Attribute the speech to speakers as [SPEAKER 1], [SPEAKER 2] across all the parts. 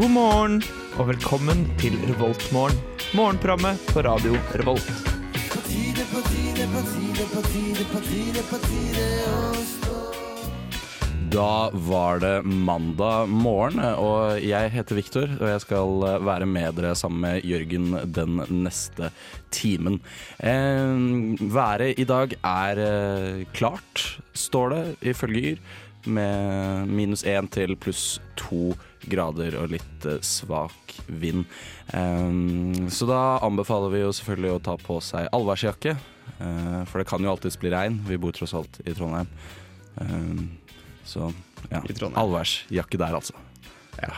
[SPEAKER 1] God morgen og velkommen til Revoltmorgen. Morgenprogrammet på radio Revolt.
[SPEAKER 2] Da var det mandag morgen, og jeg heter Viktor, og jeg skal være med dere sammen med Jørgen den neste timen. Eh, været i dag er eh, klart, står det ifølge Yr, med minus én til pluss to grader og litt eh, svak vind. Eh, så da anbefaler vi jo selvfølgelig å ta på seg allværsjakke, eh, for det kan jo alltids bli regn. Vi bor tross alt i Trondheim. Eh, så ja,
[SPEAKER 3] I Trondheim.
[SPEAKER 2] allværsjakke der altså. Ja.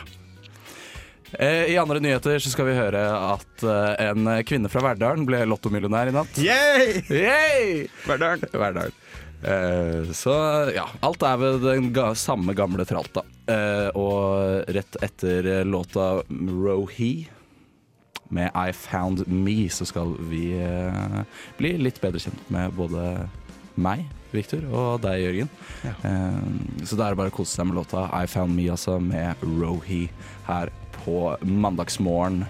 [SPEAKER 2] Eh, I andre nyheter så skal vi høre at eh, en kvinne fra Verdalen ble lottomillionær i natt.
[SPEAKER 3] Yay!
[SPEAKER 2] Yay!
[SPEAKER 3] Verdalen.
[SPEAKER 2] Verdalen. Eh, så ja, alt er ved den ga samme gamle tralta. Eh, og rett etter eh, låta Rohi med I Found Me, så skal vi eh, bli litt bedre kjent med både meg, Victor, og deg, Jørgen. Eh, så da er det bare å kose seg med låta I Found Me, altså, med Rohi her på mandagsmorgen.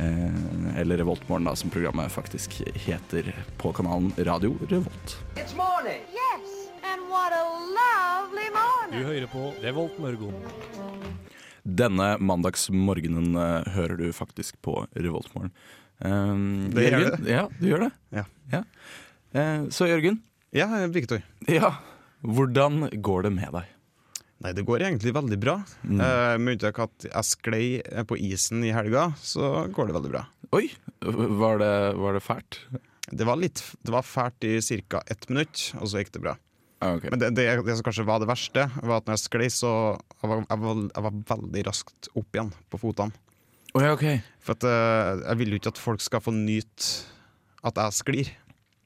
[SPEAKER 2] Eh, eller Revoltmorgen, da, som programmet faktisk heter på kanalen Radio Revolt.
[SPEAKER 4] It's morning. Yes, and what a lovely morning.
[SPEAKER 2] Denne mandagsmorgenen eh, hører du faktisk på Revoltmorgen. Um,
[SPEAKER 3] Det gjør
[SPEAKER 2] Jørgen? Ja, du gjør det.
[SPEAKER 3] Ja.
[SPEAKER 2] Eh, så Jørgen,
[SPEAKER 3] Ja, Victor.
[SPEAKER 2] ja, hvordan går det med deg? Mm.
[SPEAKER 3] Nei, det går egentlig veldig bra. Eh, med unntak at jeg sklei eh, på isen i helga, så går det veldig bra.
[SPEAKER 2] Oi, var det, var det fælt?
[SPEAKER 3] Det var, litt, det var fælt i ca. ett minutt, og så gikk det bra.
[SPEAKER 2] Ah, ok.
[SPEAKER 3] Men det, det, det som kanskje var det verste, var at når jeg sklei, så jeg var jeg, var, jeg var veldig raskt opp igjen på fotene.
[SPEAKER 2] Å ja, ok.
[SPEAKER 3] For at, eh, jeg vil jo ikke at folk skal få nyte at jeg sklir.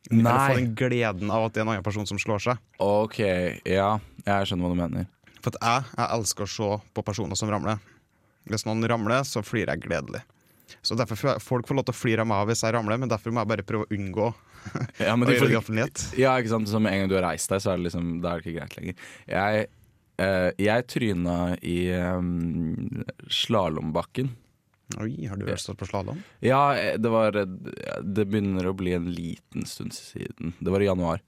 [SPEAKER 3] Eller få
[SPEAKER 2] Nei.
[SPEAKER 3] den gleden av at det er en annen person som slår seg.
[SPEAKER 2] Ok, ja, jeg skjønner hva du mener.
[SPEAKER 3] For at jeg, jeg elsker å se på personer som ramler. Hvis noen ramler, så flirer jeg gledelig. Så derfor får jeg- Folk får lov til å flire av meg hvis jeg ramler, men derfor må jeg bare prøve å unngå
[SPEAKER 2] Ja, men
[SPEAKER 3] å
[SPEAKER 2] du
[SPEAKER 3] gjøre
[SPEAKER 2] får-
[SPEAKER 3] det i offentlighet.
[SPEAKER 2] Ja, ikke sant? Så med en gang du har reist deg, så er det liksom Da er det ikke greit lenger. Jeg, eh, jeg tryna i um, slalåmbakken.
[SPEAKER 3] Oi, har du vært stått på slalåm?
[SPEAKER 2] Ja, eh, det var eh, Det begynner å bli en liten stund siden. Det var i januar.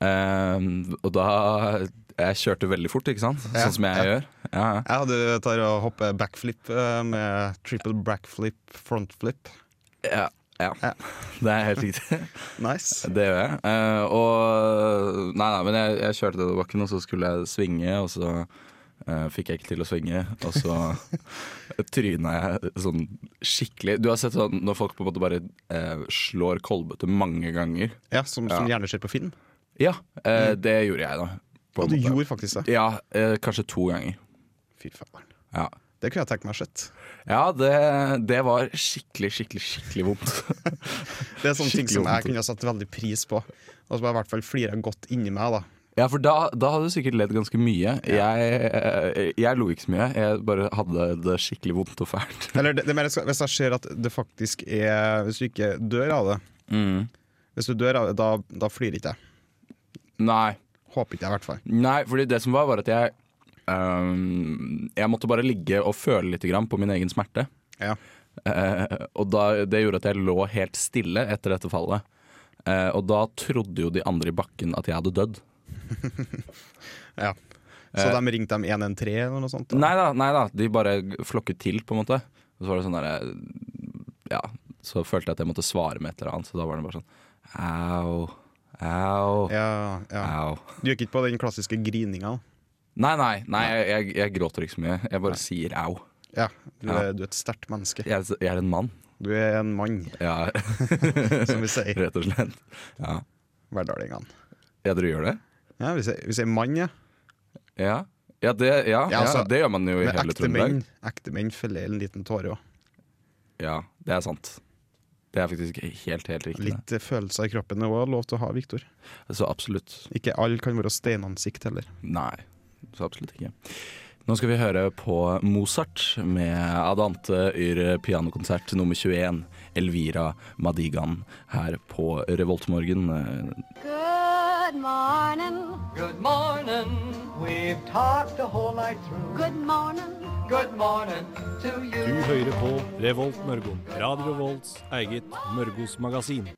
[SPEAKER 2] Eh, og da Jeg kjørte veldig fort, ikke sant?
[SPEAKER 3] Ja,
[SPEAKER 2] sånn som jeg
[SPEAKER 3] ja.
[SPEAKER 2] gjør. Ja, ja.
[SPEAKER 3] Jeg hadde tar og hopper backflip eh, med triple backflip, frontflip.
[SPEAKER 2] Ja, ja.
[SPEAKER 3] Ja.
[SPEAKER 2] Det er helt riktig.
[SPEAKER 3] Nice.
[SPEAKER 2] Det gjør jeg. Eh, og Nei, nei, men jeg, jeg kjørte nedover bakken, og så skulle jeg svinge, og så eh, fikk jeg ikke til å svinge. Og så tryna jeg sånn skikkelig Du har sett sånn når folk på en måte bare eh, slår kolbøtte mange ganger.
[SPEAKER 3] Ja, som, som gjerne skjer på film.
[SPEAKER 2] Ja, eh, det gjorde jeg, da. på en
[SPEAKER 3] Og Mm. du
[SPEAKER 2] måte.
[SPEAKER 3] gjorde faktisk det.
[SPEAKER 2] Ja, eh, kanskje to ganger.
[SPEAKER 3] Fy faen.
[SPEAKER 2] Ja,
[SPEAKER 3] Det kunne jeg tenkt meg å sett.
[SPEAKER 2] ja det, det var skikkelig, skikkelig, skikkelig vondt.
[SPEAKER 3] Det er sånne ting
[SPEAKER 2] Skikkelig
[SPEAKER 3] som jeg
[SPEAKER 2] vondt.
[SPEAKER 3] kunne ha satt veldig pris på. Og som jeg i hvert fall flirer godt inni meg. da
[SPEAKER 2] Ja, for da, da hadde du sikkert ledd ganske mye. Jeg, eh, jeg lo ikke så mye. Jeg bare hadde det skikkelig vondt og fælt.
[SPEAKER 3] Eller det, det er mer, hvis jeg ser at det faktisk er Hvis du ikke dør av det
[SPEAKER 2] Mm.
[SPEAKER 3] Hvis du dør av det, da, da flyr ikke jeg.
[SPEAKER 2] Nei.
[SPEAKER 3] Håper ikke jeg, i hvert fall.
[SPEAKER 2] Nei, fordi det som var, var at jeg ehm, Jeg måtte bare ligge og føle litt grann på min egen smerte.
[SPEAKER 3] Ja.
[SPEAKER 2] Eh, og da, det gjorde at jeg lå helt stille etter dette fallet. Eh, og da trodde jo de andre i bakken at jeg hadde dødd.
[SPEAKER 3] ja. Så de ringte dem 113 eller noe sånt? da?
[SPEAKER 2] Nei da, nei da, de bare flokket til, på en måte. Og så var det sånn derre Ja, så følte jeg at jeg måtte svare med et eller annet, så da var det bare sånn Au, au,
[SPEAKER 3] Ja, ja.
[SPEAKER 2] au.
[SPEAKER 3] Du gikk ikke på den klassiske grininga? da?
[SPEAKER 2] Nei, nei, nei jeg, jeg, jeg gråter ikke så mye. Jeg bare sier au.
[SPEAKER 3] Ja, du,
[SPEAKER 2] Ja.
[SPEAKER 3] Er, du er et sterkt menneske.
[SPEAKER 2] Jeg, er- jeg er en mann.
[SPEAKER 3] Du er en mann,
[SPEAKER 2] Ja,
[SPEAKER 3] som vi sier
[SPEAKER 2] rett og slett. Ja.
[SPEAKER 3] verdalingene.
[SPEAKER 2] ja, dere gjør det?
[SPEAKER 3] Ja, vi sier, vi sier mann, ja.
[SPEAKER 2] Ja, ja, det, ja, ja,
[SPEAKER 3] Ja, altså,
[SPEAKER 2] det gjør man jo i
[SPEAKER 3] Men
[SPEAKER 2] hele
[SPEAKER 3] ekte menn,
[SPEAKER 2] Trøndelag.
[SPEAKER 3] ekte menn feller en liten tåre òg.
[SPEAKER 2] Ja, det er sant. Det er faktisk helt, helt riktig.
[SPEAKER 3] Litt eh, følelser i kroppen er òg lov til å ha, Viktor.
[SPEAKER 2] det. Så absolutt.
[SPEAKER 3] Ikke alle kan være steinansikt heller.
[SPEAKER 2] Nei, så absolutt ikke. Nå skal vi høre på Mozart med Adante Yr pianokonsert nummer 21, Elvira Madigan, her på Revoltmorgen.
[SPEAKER 4] Good morning. Good morning. We've talked the whole night through. Good morning.
[SPEAKER 5] Good morning to you.
[SPEAKER 6] Du hører på Revolt Mørgo. Radio Revolts eget Mørgos magasin.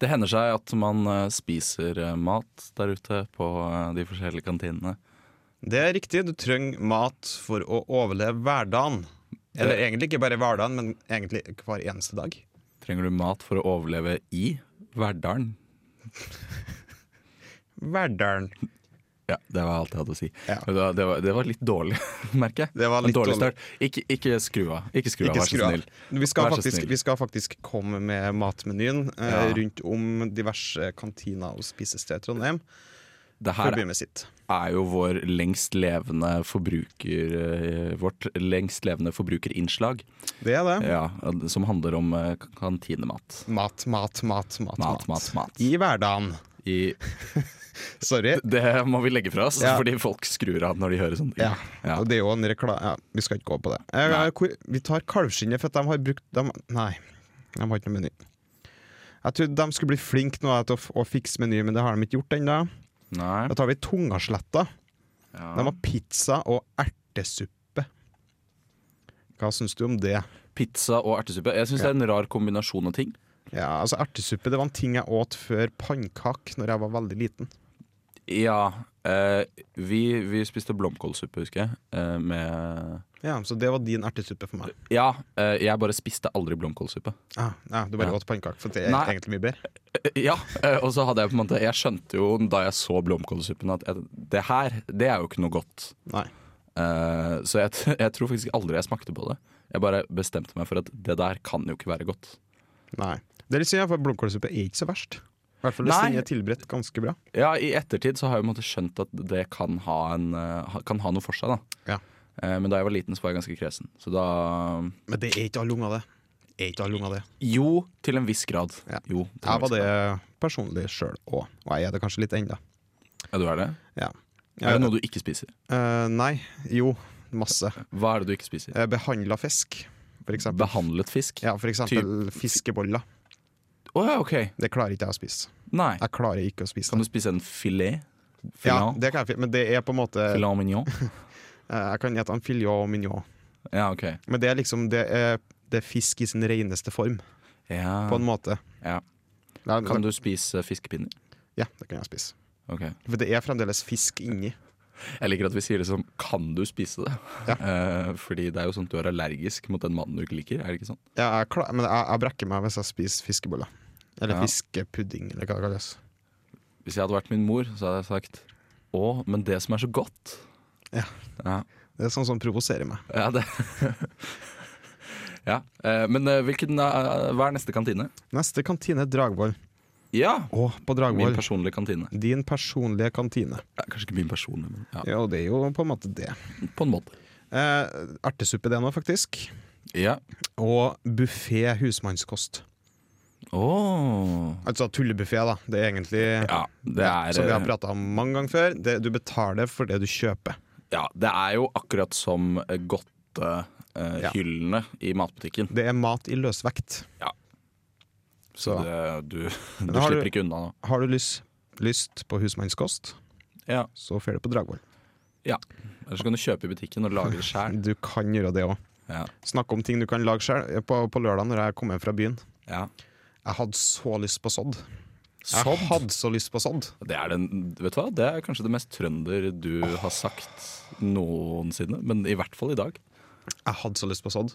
[SPEAKER 2] Det hender seg at man eh, spiser eh, mat der ute på eh, de forskjellige kantinene.
[SPEAKER 3] Det er riktig, du trenger mat for å overleve hverdagen. Eller egentlig ikke bare hverdagen, men egentlig hver eneste dag.
[SPEAKER 2] Trenger du mat for å overleve i Verdalen?
[SPEAKER 3] Hverdagen.
[SPEAKER 2] Ja, det var alt jeg hadde å si.
[SPEAKER 3] Ja.
[SPEAKER 2] Det, var, det, var, det var litt dårlig, merker jeg.
[SPEAKER 3] Det var
[SPEAKER 2] En
[SPEAKER 3] litt
[SPEAKER 2] dårlig
[SPEAKER 3] dårlig.
[SPEAKER 2] start. Ikke, ikke skru av, ikke skru av,
[SPEAKER 3] Ikke
[SPEAKER 2] vær
[SPEAKER 3] skru
[SPEAKER 2] så
[SPEAKER 3] av.
[SPEAKER 2] snill.
[SPEAKER 3] Vi skal,
[SPEAKER 2] Vær så
[SPEAKER 3] faktisk,
[SPEAKER 2] snill.
[SPEAKER 3] vi skal faktisk komme med matmenyen eh,
[SPEAKER 2] Ja.
[SPEAKER 3] rundt om diverse kantiner og spisesteder i Trondheim.
[SPEAKER 2] Det
[SPEAKER 3] For å
[SPEAKER 2] her
[SPEAKER 3] begynne med sitt.
[SPEAKER 2] er jo vår lengst levende forbruker, eh, vårt lengst levende forbrukerinnslag,
[SPEAKER 3] Det er det.
[SPEAKER 2] ja, som handler om eh, kantinemat.
[SPEAKER 3] Mat, mat, mat, mat,
[SPEAKER 2] Mat, mat, mat.
[SPEAKER 3] I hverdagen.
[SPEAKER 2] I,
[SPEAKER 3] Sorry.
[SPEAKER 2] det må vi legge fra oss,
[SPEAKER 3] Ja.
[SPEAKER 2] fordi folk skrur av når de hører sånne ting.
[SPEAKER 3] Ja.
[SPEAKER 2] Ja.
[SPEAKER 3] Og det er jo en rekla... Ja, vi skal ikke gå på det. Eh,
[SPEAKER 2] Nei.
[SPEAKER 3] hvor, vi tar kalvskinnet, for at de har brukt de, Nei, de har ikke noe meny. Jeg trodde de skulle bli flinke nå til å, f- å fikse meny, men det har de ikke gjort ennå.
[SPEAKER 2] Nei.
[SPEAKER 3] Da tar vi tungasletta.
[SPEAKER 2] Ja.
[SPEAKER 3] De har pizza og ertesuppe. Hva syns du om det?
[SPEAKER 2] Pizza og ertesuppe. Jeg syns det er en rar kombinasjon av ting.
[SPEAKER 3] Ja, altså Ertesuppe det var en ting jeg åt før pannkak når jeg var veldig liten.
[SPEAKER 2] Ja. eh, vi, vi spiste blomkålsuppe, husker jeg. eh, med
[SPEAKER 3] Ja, Så det var din ertesuppe for meg.
[SPEAKER 2] Ja, eh, jeg bare spiste aldri blomkålsuppe.
[SPEAKER 3] Ah, ja, du bare
[SPEAKER 2] Ja.
[SPEAKER 3] åt pannkak, for det er
[SPEAKER 2] Nei.
[SPEAKER 3] egentlig mye bedre.
[SPEAKER 2] Eh, Ja, eh, og så hadde jeg på en måte Jeg skjønte jo da jeg så blomkålsuppen at jeg, det her, det er jo ikke noe godt.
[SPEAKER 3] Nei.
[SPEAKER 2] Eh, så jeg, t- jeg tror faktisk aldri jeg smakte på det. Jeg bare bestemte meg for at det der kan jo ikke være godt.
[SPEAKER 3] Nei. Det er litt synd, for blomkålsuppe er ikke så verst. I hvert fall hvis
[SPEAKER 2] Nei.
[SPEAKER 3] den er tilberedt ganske bra.
[SPEAKER 2] Ja, I ettertid så har jeg på en måte skjønt at det kan ha, en, eh, ha- kan ha noe for seg. da
[SPEAKER 3] Ja.
[SPEAKER 2] Eh, Men da jeg var liten, så var jeg ganske kresen. Så da
[SPEAKER 3] Men det er ikke alle unger, det. Er ikke alle unger det.
[SPEAKER 2] Jo, til en viss grad.
[SPEAKER 3] Ja.
[SPEAKER 2] Jo, til en
[SPEAKER 3] Jeg var
[SPEAKER 2] viss
[SPEAKER 3] det
[SPEAKER 2] grad.
[SPEAKER 3] personlig sjøl òg, og jeg er det kanskje litt ennå.
[SPEAKER 2] Ja, du er det?
[SPEAKER 3] Ja.
[SPEAKER 2] Er det noe du ikke spiser?
[SPEAKER 3] Eh, nei. Jo, masse.
[SPEAKER 2] Hva er det du ikke spiser?
[SPEAKER 3] Behandla fisk, for eksempel.
[SPEAKER 2] Behandlet fisk? Å
[SPEAKER 3] Ja, for eksempel fiskeboller.
[SPEAKER 2] ja, ok.
[SPEAKER 3] Det klarer ikke jeg å spise.
[SPEAKER 2] Nei.
[SPEAKER 3] Jeg klarer ikke å spise
[SPEAKER 2] Kan
[SPEAKER 3] det.
[SPEAKER 2] du spise en filet?
[SPEAKER 3] Ja,
[SPEAKER 2] Filet,
[SPEAKER 3] det kan jeg, fi- men det er på en måte eh,
[SPEAKER 2] filet mignon?
[SPEAKER 3] Jeg kan gjette en filial mignon.
[SPEAKER 2] Ja, ok.
[SPEAKER 3] Men det er liksom det er, det er fisk i sin reneste form,
[SPEAKER 2] Ja.
[SPEAKER 3] på en måte.
[SPEAKER 2] ja.
[SPEAKER 3] Nei,
[SPEAKER 2] Ah. Kan du spise fiskepinner?
[SPEAKER 3] Ja, det kan jeg spise.
[SPEAKER 2] Ok.
[SPEAKER 3] For det er fremdeles fisk inni.
[SPEAKER 2] Jeg liker at vi sier det som 'kan du spise det'?
[SPEAKER 3] Ja.
[SPEAKER 2] Eh, fordi det er jo sånn at du er allergisk mot den mannen du ikke liker, er det ikke sånn?
[SPEAKER 3] Ja, jeg, klar, men jeg, jeg brekker meg hvis jeg spiser fiskeboller. Eller
[SPEAKER 2] Ja.
[SPEAKER 3] fiskepudding, eller hva det kalles.
[SPEAKER 2] Hvis jeg hadde vært min mor, så hadde jeg sagt 'å, men det som er så godt'.
[SPEAKER 3] Ja.
[SPEAKER 2] ja.
[SPEAKER 3] Det er sånn som provoserer meg.
[SPEAKER 2] Ja, det Ja, eh, men eh, hvilken, eh, hva er neste kantine?
[SPEAKER 3] Neste kantine er Dragvoll.
[SPEAKER 2] Ja,
[SPEAKER 3] Å, på
[SPEAKER 2] min
[SPEAKER 3] Dragvoll.
[SPEAKER 2] personlige kantine.
[SPEAKER 3] Din personlige kantine.
[SPEAKER 2] Ja, kanskje ikke min personlige, men ja,
[SPEAKER 3] Ja, det er jo på en måte det.
[SPEAKER 2] på en måte.
[SPEAKER 3] Eh, artesuppe det nå, faktisk.
[SPEAKER 2] Ja.
[SPEAKER 3] Og buffé husmannskost.
[SPEAKER 2] Åh.
[SPEAKER 3] Altså tullebuffé, da. Det er egentlig
[SPEAKER 2] ja, det
[SPEAKER 3] Som vi har
[SPEAKER 2] er,
[SPEAKER 3] prata om mange ganger før. Det, du betaler for det du kjøper.
[SPEAKER 2] eh, ja, det er jo akkurat som eh,
[SPEAKER 3] Ja.
[SPEAKER 2] godtehyllene i matbutikken.
[SPEAKER 3] Det er mat i løsvekt.
[SPEAKER 2] Så
[SPEAKER 3] Så.
[SPEAKER 2] det, du, du
[SPEAKER 3] har
[SPEAKER 2] slipper
[SPEAKER 3] du-
[SPEAKER 2] ikke unna nå.
[SPEAKER 3] Har du lyst, lyst på husmannskost,
[SPEAKER 2] Ja.
[SPEAKER 3] så får du på Dragvoll.
[SPEAKER 2] Eller så kan du kjøpe i butikken og lage det sjøl.
[SPEAKER 3] Du kan gjøre det òg.
[SPEAKER 2] Ja.
[SPEAKER 3] Snakke om ting du kan lage sjøl. På, på lørdag når jeg kom hjem fra byen
[SPEAKER 2] Ja.
[SPEAKER 3] Jeg hadde så lyst på sodd. Jeg
[SPEAKER 2] Sodd.
[SPEAKER 3] hadde så lyst på sodd.
[SPEAKER 2] Det er, den, vet du hva? det er kanskje det mest trønder du har sagt noensinne, men i hvert fall i dag.
[SPEAKER 3] Jeg hadde så lyst på sodd.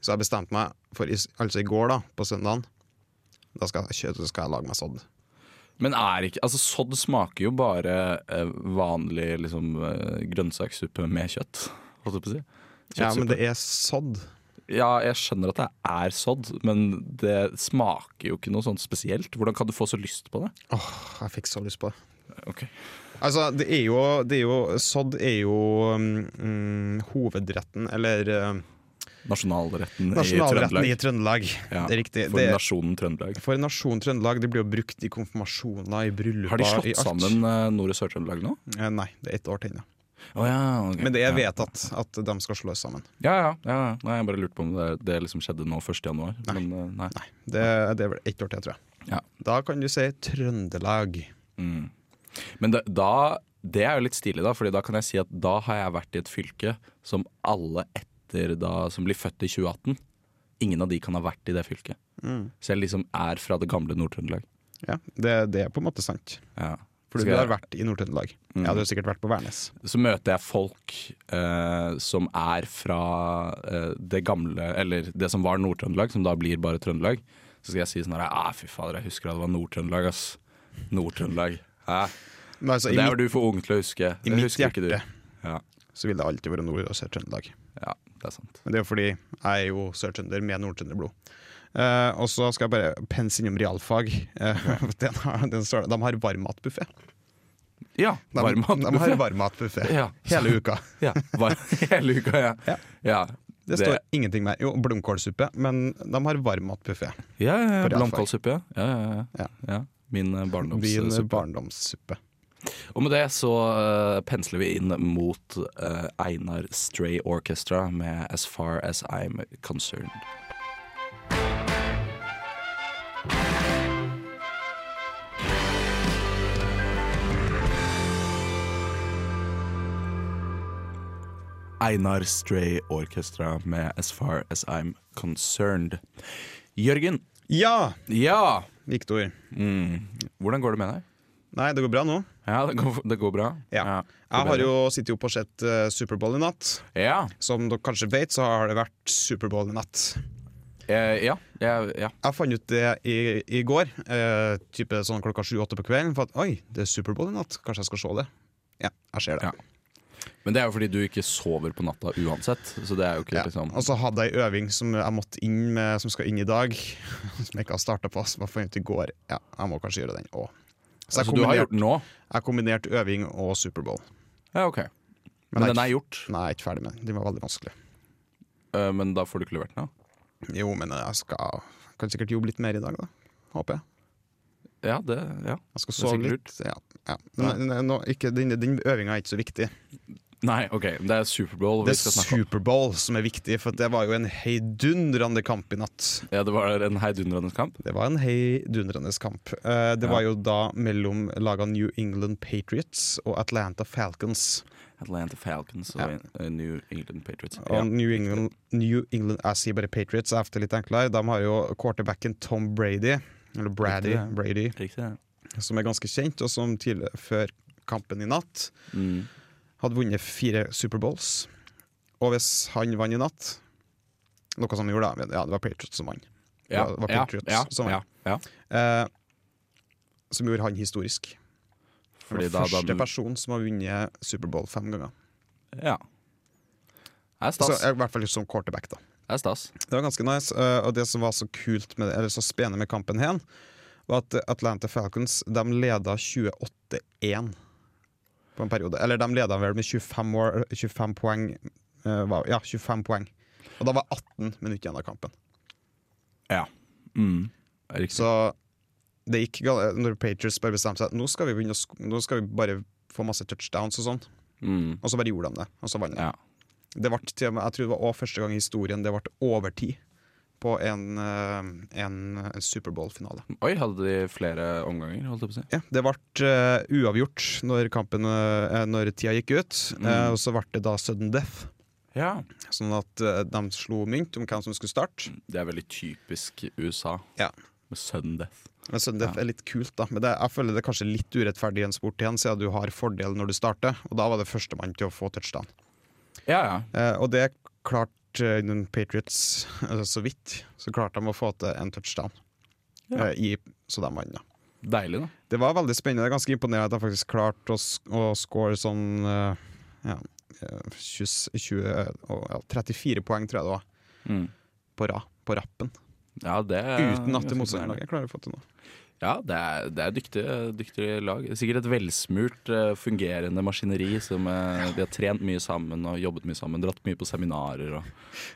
[SPEAKER 3] Så jeg bestemte meg for i, altså i går, da, på søndagen Da skal jeg, kjø- så skal jeg lage meg sodd.
[SPEAKER 2] Men er ikke, altså sodd smaker jo bare eh, vanlig liksom, eh, grønnsakssuppe med kjøtt. Holdt jeg på å si.
[SPEAKER 3] Ja, men det
[SPEAKER 2] Kjøttsuppe.
[SPEAKER 3] er sodd.
[SPEAKER 2] ja, jeg skjønner at det er sodd, men det smaker jo ikke noe sånt spesielt. Hvordan kan du få så lyst på det?
[SPEAKER 3] Åh, jeg fikk så lyst på det.
[SPEAKER 2] Ok.
[SPEAKER 3] Altså, det er jo, det er jo Sodd er jo mm, hovedretten, eller eh,
[SPEAKER 2] Nasjonalretten,
[SPEAKER 3] nasjonalretten
[SPEAKER 2] i
[SPEAKER 3] i
[SPEAKER 2] Trøndelag.
[SPEAKER 3] Trøndelag.
[SPEAKER 2] Ja,
[SPEAKER 3] det er riktig.
[SPEAKER 2] For
[SPEAKER 3] det,
[SPEAKER 2] nasjonen Trøndelag.
[SPEAKER 3] For nasjonen Trøndelag det blir jo brukt i konfirmasjoner, i brylluper,
[SPEAKER 2] Har de
[SPEAKER 3] i
[SPEAKER 2] slått
[SPEAKER 3] alt.
[SPEAKER 2] sammen eh, Nord- og Sør-Trøndelag nå?
[SPEAKER 3] Eh, Nei, det er ett år til ennå.
[SPEAKER 2] Å ja, ok.
[SPEAKER 3] Men det er
[SPEAKER 2] ja.
[SPEAKER 3] vedtatt at de skal slås sammen.
[SPEAKER 2] Ja, ja. ja. ja. Nei, jeg bare lurte på om det, det liksom skjedde nå 1. januar. Men eh, nei.
[SPEAKER 3] Nei, det, det er vel ett år til, tror jeg.
[SPEAKER 2] Ja.
[SPEAKER 3] Da kan du si Trøndelag.
[SPEAKER 2] Mm. Men da, da Det er jo litt stilig, da, Fordi da kan jeg si at da har jeg vært i et fylke som alle etter da Som blir født i 2018. Ingen av de kan ha vært i det fylket.
[SPEAKER 3] Mm.
[SPEAKER 2] Så jeg liksom er fra det gamle Nord-Trøndelag.
[SPEAKER 3] Ja, det, det er på en måte sant.
[SPEAKER 2] Ja.
[SPEAKER 3] For
[SPEAKER 2] Skal
[SPEAKER 3] du har
[SPEAKER 2] jeg- Mm.
[SPEAKER 3] vært i Nord-Trøndelag. Ja, du har sikkert vært på Værnes.
[SPEAKER 2] så møter jeg folk eh, som er fra eh, det gamle, eller det som var Nord-Trøndelag, som da blir bare Trøndelag. Så skal jeg si sånn her ah, Fy fader, jeg husker at det var Nord-Trøndelag, ass. Nord-Trøndelag. Hæ?
[SPEAKER 3] Men altså, i,
[SPEAKER 2] Det er
[SPEAKER 3] mitt,
[SPEAKER 2] jo du for ung til å huske.
[SPEAKER 3] I
[SPEAKER 2] Det
[SPEAKER 3] mitt
[SPEAKER 2] husker ikke du.
[SPEAKER 3] hjerte.
[SPEAKER 2] Ja,
[SPEAKER 3] så vil det alltid være Nord- og Sør-Trøndelag.
[SPEAKER 2] ja, det er sant.
[SPEAKER 3] Men det er jo fordi jeg er jo sør-trønder med nord-trønderblod. Eh, og så skal jeg bare pense innom realfag. Eh, den har, den står, de har varmmatbuffé.
[SPEAKER 2] Ja,
[SPEAKER 3] De, de har
[SPEAKER 2] varmmatbuffé.
[SPEAKER 3] varmmatbuffé
[SPEAKER 2] Ja.
[SPEAKER 3] hele uka.
[SPEAKER 2] Ja, var, hele uka, ja.
[SPEAKER 3] Ja.
[SPEAKER 2] ja.
[SPEAKER 3] Det står ingenting mer. Jo, blomkålsuppe, men de har varmmatbuffé.
[SPEAKER 2] Ja, ja, ja.
[SPEAKER 3] for realfag.
[SPEAKER 2] Blomkålsuppe, ja. Ja, ja, ja. ja. Min eh,
[SPEAKER 3] Min
[SPEAKER 2] barndomssuppe.
[SPEAKER 3] barndomssuppe.
[SPEAKER 2] Og med det så eh, pensler vi inn mot eh, Einar Stray Orchestra med As Far As I'm Concerned. Einar Stray Orchestra med As Far As I'm Concerned. Jørgen,
[SPEAKER 3] Ja,
[SPEAKER 2] ja!
[SPEAKER 3] Viktor.
[SPEAKER 2] Hvordan går det med deg?
[SPEAKER 3] Nei, det går bra nå.
[SPEAKER 2] Ja, det går, det går bra.
[SPEAKER 3] Ja. Jeg har jo sittet opp og sett eh, Superbowl i natt.
[SPEAKER 2] Ja.
[SPEAKER 3] Som dere kanskje vet, så har det vært Superbowl i natt.
[SPEAKER 2] Eh, ja, ja, ja.
[SPEAKER 3] Jeg fant ut det i, i går, eh, type sånn klokka sju-åtte på kvelden. For at oi, det er Superbowl i natt, kanskje jeg skal se det. Ja, jeg ser det.
[SPEAKER 2] Ja. Men det er jo fordi du ikke sover på natta uansett. Så det er jo ikke
[SPEAKER 3] Ja. Altså,
[SPEAKER 2] liksom
[SPEAKER 3] Og så hadde jeg ei øving som jeg måtte inn med, som skal inn i dag. Som jeg ikke har starta på, som jeg fant ut i går. Ja, jeg må kanskje gjøre den òg. Så jeg
[SPEAKER 2] Altså, du har gjort
[SPEAKER 3] kombinerte
[SPEAKER 2] den nå?
[SPEAKER 3] kombinert øving og Superbowl.
[SPEAKER 2] Ja, ok. Men,
[SPEAKER 3] det er
[SPEAKER 2] den
[SPEAKER 3] ikke-
[SPEAKER 2] er gjort,
[SPEAKER 3] Nei, jeg er ikke ferdig med den. Den var veldig vanskelig.
[SPEAKER 2] eh, men da får du ikke levert den? da.
[SPEAKER 3] Jo, men jeg skal kan sikkert jobbe litt mer i dag, da. Håper jeg.
[SPEAKER 2] Ja, det ja.
[SPEAKER 3] Jeg skal
[SPEAKER 2] Det er
[SPEAKER 3] sove
[SPEAKER 2] sikkert
[SPEAKER 3] litt. Ja, ja. Men, nei, nå, ikke, den, den øvinga er ikke så viktig.
[SPEAKER 2] Nei, OK. Det er Superbowl
[SPEAKER 3] Det
[SPEAKER 2] vi skal
[SPEAKER 3] er
[SPEAKER 2] snakke om.
[SPEAKER 3] Superbowl som er viktig, for det var jo en heidundrende kamp i natt.
[SPEAKER 2] Ja, det var en heidundrende kamp.
[SPEAKER 3] Det var en heidundrende kamp. Eh, Det
[SPEAKER 2] Ja.
[SPEAKER 3] var jo da mellom lagene New England Patriots og Atlanta Falcons.
[SPEAKER 2] Atlanta Falcons og eh, New England Patriots.
[SPEAKER 3] Og New England, New England Jeg sier bare Patriots, jeg er ofte litt enklere. De har jo quarterbacken Tom Brady, eller
[SPEAKER 2] Riktig,
[SPEAKER 3] Brady,
[SPEAKER 2] ja.
[SPEAKER 3] Brady
[SPEAKER 2] Riktig. ja.
[SPEAKER 3] som er ganske kjent, og som tidlig før kampen i natt
[SPEAKER 2] Mm.
[SPEAKER 3] hadde vunnet fire Superbowls. Og hvis han vant i natt Noe som han gjorde, da. Ja, det var Patriots som vant.
[SPEAKER 2] Ja,
[SPEAKER 3] Det var
[SPEAKER 2] ja,
[SPEAKER 3] Patriots
[SPEAKER 2] ja,
[SPEAKER 3] som
[SPEAKER 2] ja,
[SPEAKER 3] vant.
[SPEAKER 2] ja.
[SPEAKER 3] Eh, som gjorde han historisk. Han
[SPEAKER 2] Fordi
[SPEAKER 3] var
[SPEAKER 2] da, da
[SPEAKER 3] første person som har vunnet Superbowl fem ganger.
[SPEAKER 2] Ja. Det er
[SPEAKER 3] Så, eh,
[SPEAKER 2] stas.
[SPEAKER 3] I hvert fall som quarterback, da.
[SPEAKER 2] Det er stas.
[SPEAKER 3] Det var ganske nice. eh, Og det som var så kult med, eller så spennende med kampen her, var at Atlanta Falcons de leda 28-1 på en periode. Eller de leda vel med 25, år, 25 poeng. eh, var- Ja, 25 poeng. Og da var 18 minutter igjen av kampen.
[SPEAKER 2] Ja. Mm. Riktig.
[SPEAKER 3] Så det gikk gal- når Patriots bare bestemte seg Nå skal vi begynne å sk Nå skal vi bare få masse touchdowns og sånn.
[SPEAKER 2] Mm.
[SPEAKER 3] Og så bare gjorde de det, og så vant de.
[SPEAKER 2] Ja.
[SPEAKER 3] Det ble, til og med- jeg tror det var også første gang i historien det ble overtid på en, eh, en, en Superbowl-finale.
[SPEAKER 2] Oi, hadde de flere omganger, holdt jeg på å si?
[SPEAKER 3] Ja, det ble eh, uavgjort når, kampen, eh, når tida gikk ut, eh,
[SPEAKER 2] Mm.
[SPEAKER 3] og så ble det da sudden death.
[SPEAKER 2] Ja.
[SPEAKER 3] Sånn at eh, de slo mynt om hvem som skulle starte.
[SPEAKER 2] Det er veldig typisk USA.
[SPEAKER 3] Ja.
[SPEAKER 2] Med sudden death.
[SPEAKER 3] Men sudden death er litt kult, da. Men det, jeg føler det er kanskje litt urettferdig i en sport igjen, siden du har fordel når du starter, og da var det førstemann til å få touchdown.
[SPEAKER 2] Ja, ja.
[SPEAKER 3] Eh, og det klarte eh, den Patriots eh, så vidt. Så klarte de å få til en touchdown.
[SPEAKER 2] Ja.
[SPEAKER 3] Eh, i, så de vant, da.
[SPEAKER 2] Deilig, da.
[SPEAKER 3] Det var veldig spennende. Det er ganske imponerende at de faktisk klarte å, sk- å score sånn eh, ja, eh, 20, 20, eh, og, ja, 34 poeng, tror jeg det var, på, ra, på rappen.
[SPEAKER 2] Mm. Ja, det er
[SPEAKER 3] Uten at
[SPEAKER 2] ganske
[SPEAKER 3] det motstanderlaget klarer å få til noe.
[SPEAKER 2] imponerende. Ja, det er, det er dyktige, dyktige lag. Sikkert et velsmurt, eh, fungerende maskineri som eh, de har trent mye sammen og jobbet mye sammen. Dratt mye på seminarer og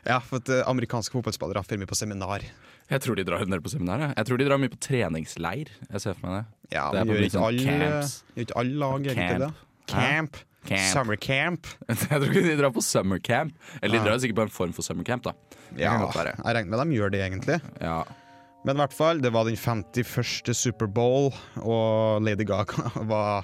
[SPEAKER 3] Ja, for at eh, amerikanske fotballspillere har mye på seminar.
[SPEAKER 2] Jeg tror de drar en del på seminar. Jeg. jeg tror de drar mye på treningsleir. Jeg ser for meg det.
[SPEAKER 3] Ja,
[SPEAKER 2] Det er
[SPEAKER 3] men
[SPEAKER 2] på
[SPEAKER 3] gjør
[SPEAKER 2] mye
[SPEAKER 3] ikke
[SPEAKER 2] sånn
[SPEAKER 3] alle
[SPEAKER 2] camps.
[SPEAKER 3] Gjør ikke alle lag egentlig det?
[SPEAKER 2] Camp.
[SPEAKER 3] Camp.
[SPEAKER 2] Camp.
[SPEAKER 3] Summer camp.
[SPEAKER 2] Jeg tror ikke de drar på summercamp. Eller de
[SPEAKER 3] Ja.
[SPEAKER 2] drar sikkert på en form for summercamp, da. Det
[SPEAKER 3] Ja,
[SPEAKER 2] kan godt være.
[SPEAKER 3] jeg regner med de gjør det, egentlig.
[SPEAKER 2] Ja.
[SPEAKER 3] Men i hvert fall, det var den 51. Superbowl, og Lady Gaga var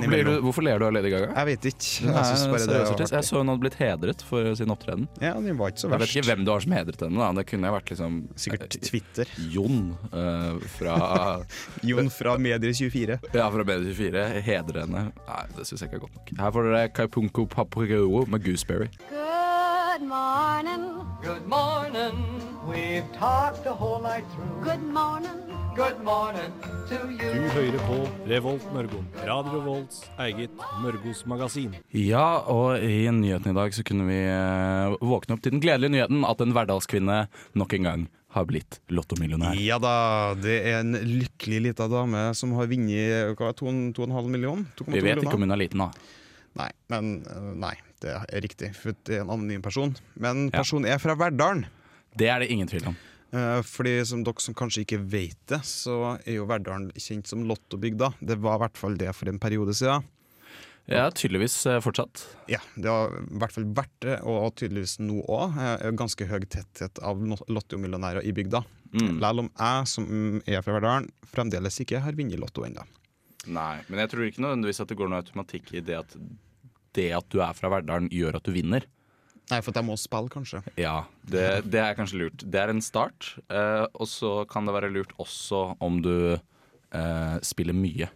[SPEAKER 2] Hvorfor, blir du,
[SPEAKER 3] imellom.
[SPEAKER 2] hvorfor ler du av Lady Gaga?
[SPEAKER 3] Jeg vet ikke.
[SPEAKER 2] Hun er
[SPEAKER 3] Jeg synes
[SPEAKER 2] en
[SPEAKER 3] bare det
[SPEAKER 2] seriøs
[SPEAKER 3] var
[SPEAKER 2] artist. Jeg
[SPEAKER 3] artig.
[SPEAKER 2] så hun hadde blitt hedret for sin opptreden.
[SPEAKER 3] Ja, den var ikke så
[SPEAKER 2] Jeg vet
[SPEAKER 3] verst.
[SPEAKER 2] ikke hvem det var som hedret henne, da. Det kunne jeg vært liksom
[SPEAKER 3] Sikkert Twitter.
[SPEAKER 2] Jon eh, fra,
[SPEAKER 3] Jon fra Medier24.
[SPEAKER 2] ja, fra BD24 hedre henne. Nei, det syns jeg ikke er godt nok. Her får dere Kaipunko Papagoo med Gooseberry.
[SPEAKER 4] Good morning.
[SPEAKER 5] Good morning. We've talked the whole night through.
[SPEAKER 4] Good morning.
[SPEAKER 5] Good morning to
[SPEAKER 6] Du
[SPEAKER 5] you.
[SPEAKER 6] hører på Revolt Mørgon. Radio Revolts eget Mørgosmagasin.
[SPEAKER 2] Ja, og i nyheten i dag så kunne vi eh, våkne opp til den gledelige nyheten at en hverdalskvinne nok en gang har blitt lottomillionær.
[SPEAKER 3] Ja da, det er en lykkelig lita dame som har vunnet hva, 2,5 millioner? 2,2
[SPEAKER 2] Vi vet ikke
[SPEAKER 3] millioner?
[SPEAKER 2] om hun er liten, da.
[SPEAKER 3] Nei, men øh, nei, det er riktig. For det er en anonym person. Men personen er fra Verdalen.
[SPEAKER 2] Det er det ingen tvil om.
[SPEAKER 3] Eh, Fordi som dere som kanskje ikke vet det, så er jo Verdalen kjent som Lottobygda. Det var i hvert fall det for en periode siden.
[SPEAKER 2] Ja, tydeligvis eh, fortsatt.
[SPEAKER 3] Ja, det har i hvert fall vært det, og tydeligvis nå òg. Ganske høy tetthet av no- lottomillionærer i bygda.
[SPEAKER 2] Mm.
[SPEAKER 3] Lell om jeg, som er fra Verdalen, fremdeles ikke har vunnet Lotto ennå.
[SPEAKER 2] Nei, men jeg tror ikke nødvendigvis at det går noe automatikk i det at det at du er fra Verdalen, gjør at du vinner.
[SPEAKER 3] Nei, for at jeg må spille, kanskje.
[SPEAKER 2] Ja, det, det er kanskje lurt. Det er en start, eh, og så kan det være lurt også om du eh, spiller mye.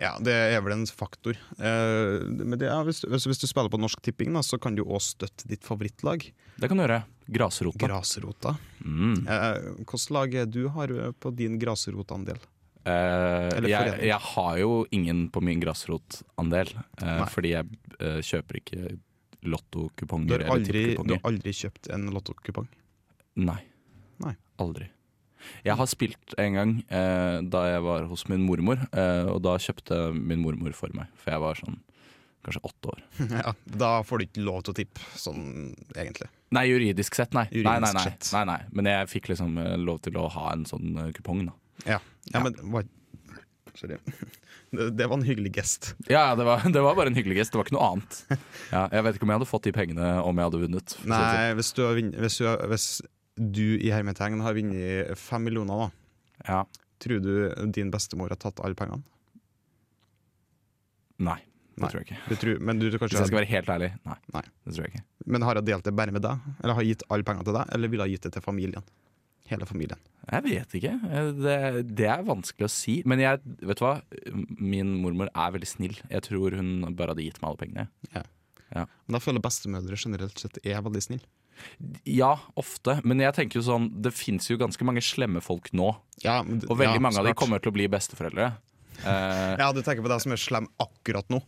[SPEAKER 3] Ja, det er vel en faktor. Eh, men det er, hvis, hvis, hvis du spiller på Norsk Tipping, da, så kan du òg støtte ditt favorittlag,
[SPEAKER 2] Det kan du gjøre. Grasrota.
[SPEAKER 3] Grasrota.
[SPEAKER 2] Mm.
[SPEAKER 3] Eh, Hvilket lag er du har eh, på din grasrotandel?
[SPEAKER 2] Eh,
[SPEAKER 3] Eller
[SPEAKER 2] jeg,
[SPEAKER 3] forening.
[SPEAKER 2] jeg har jo ingen på min grasrotandel, eh,
[SPEAKER 3] Nei.
[SPEAKER 2] fordi jeg eh, kjøper ikke
[SPEAKER 3] Du
[SPEAKER 2] lottokuponger
[SPEAKER 3] har
[SPEAKER 2] eller
[SPEAKER 3] aldri, du
[SPEAKER 2] tippekuponger.
[SPEAKER 3] har aldri kjøpt en lottokupong?
[SPEAKER 2] Nei.
[SPEAKER 3] Nei.
[SPEAKER 2] Aldri. Jeg har spilt en gang eh, da jeg var hos min mormor, eh, og da kjøpte min mormor for meg. For jeg var sånn kanskje åtte år.
[SPEAKER 3] ja, da får du ikke lov til å tippe, sånn egentlig.
[SPEAKER 2] Nei, juridisk sett, nei.
[SPEAKER 3] Juridisk
[SPEAKER 2] nei, nei, nei.
[SPEAKER 3] sett.
[SPEAKER 2] nei, nei. Men jeg fikk liksom eh, lov til å ha en sånn eh, kupong, da.
[SPEAKER 3] Ja, ja, men hva- Sorry. Det, det var en hyggelig gest.
[SPEAKER 2] Ja, ja, det var, det var bare en hyggelig gest. Det var ikke noe annet. Ja, jeg vet ikke om jeg hadde fått de pengene om jeg hadde vunnet. for å si det sånn.
[SPEAKER 3] Nei, hvis du, har vinn- hvis du, har- hvis du i hermetegn har vunnet fem millioner, da,
[SPEAKER 2] Ja.
[SPEAKER 3] tror du din bestemor har tatt alle pengene?
[SPEAKER 2] Nei, det
[SPEAKER 3] Nei.
[SPEAKER 2] tror jeg ikke.
[SPEAKER 3] Du tror, men du tror
[SPEAKER 2] Hvis
[SPEAKER 3] kanskje
[SPEAKER 2] jeg skal være helt ærlig, nei.
[SPEAKER 3] Nei.
[SPEAKER 2] Det tror jeg ikke.
[SPEAKER 3] Men har jeg delt det bare med deg? Eller har jeg gitt alle pengene til deg? Eller ville jeg gitt det til familien? Hele familien.
[SPEAKER 2] Jeg vet ikke. Eh, Det, det er vanskelig å si. Men jeg, vet du hva? Min mormor er veldig snill. Jeg tror hun bare hadde gitt meg alle pengene.
[SPEAKER 3] Men da føler jeg bestemødre generelt sett er veldig snille.
[SPEAKER 2] Ja, ofte. Men jeg tenker jo sånn, det fins jo ganske mange slemme folk nå.
[SPEAKER 3] Ja, men d-
[SPEAKER 2] Og veldig
[SPEAKER 3] ja,
[SPEAKER 2] mange av de
[SPEAKER 3] klart.
[SPEAKER 2] kommer til å bli besteforeldre. Eh,
[SPEAKER 3] Ja, du tenker på deg som er slem akkurat nå.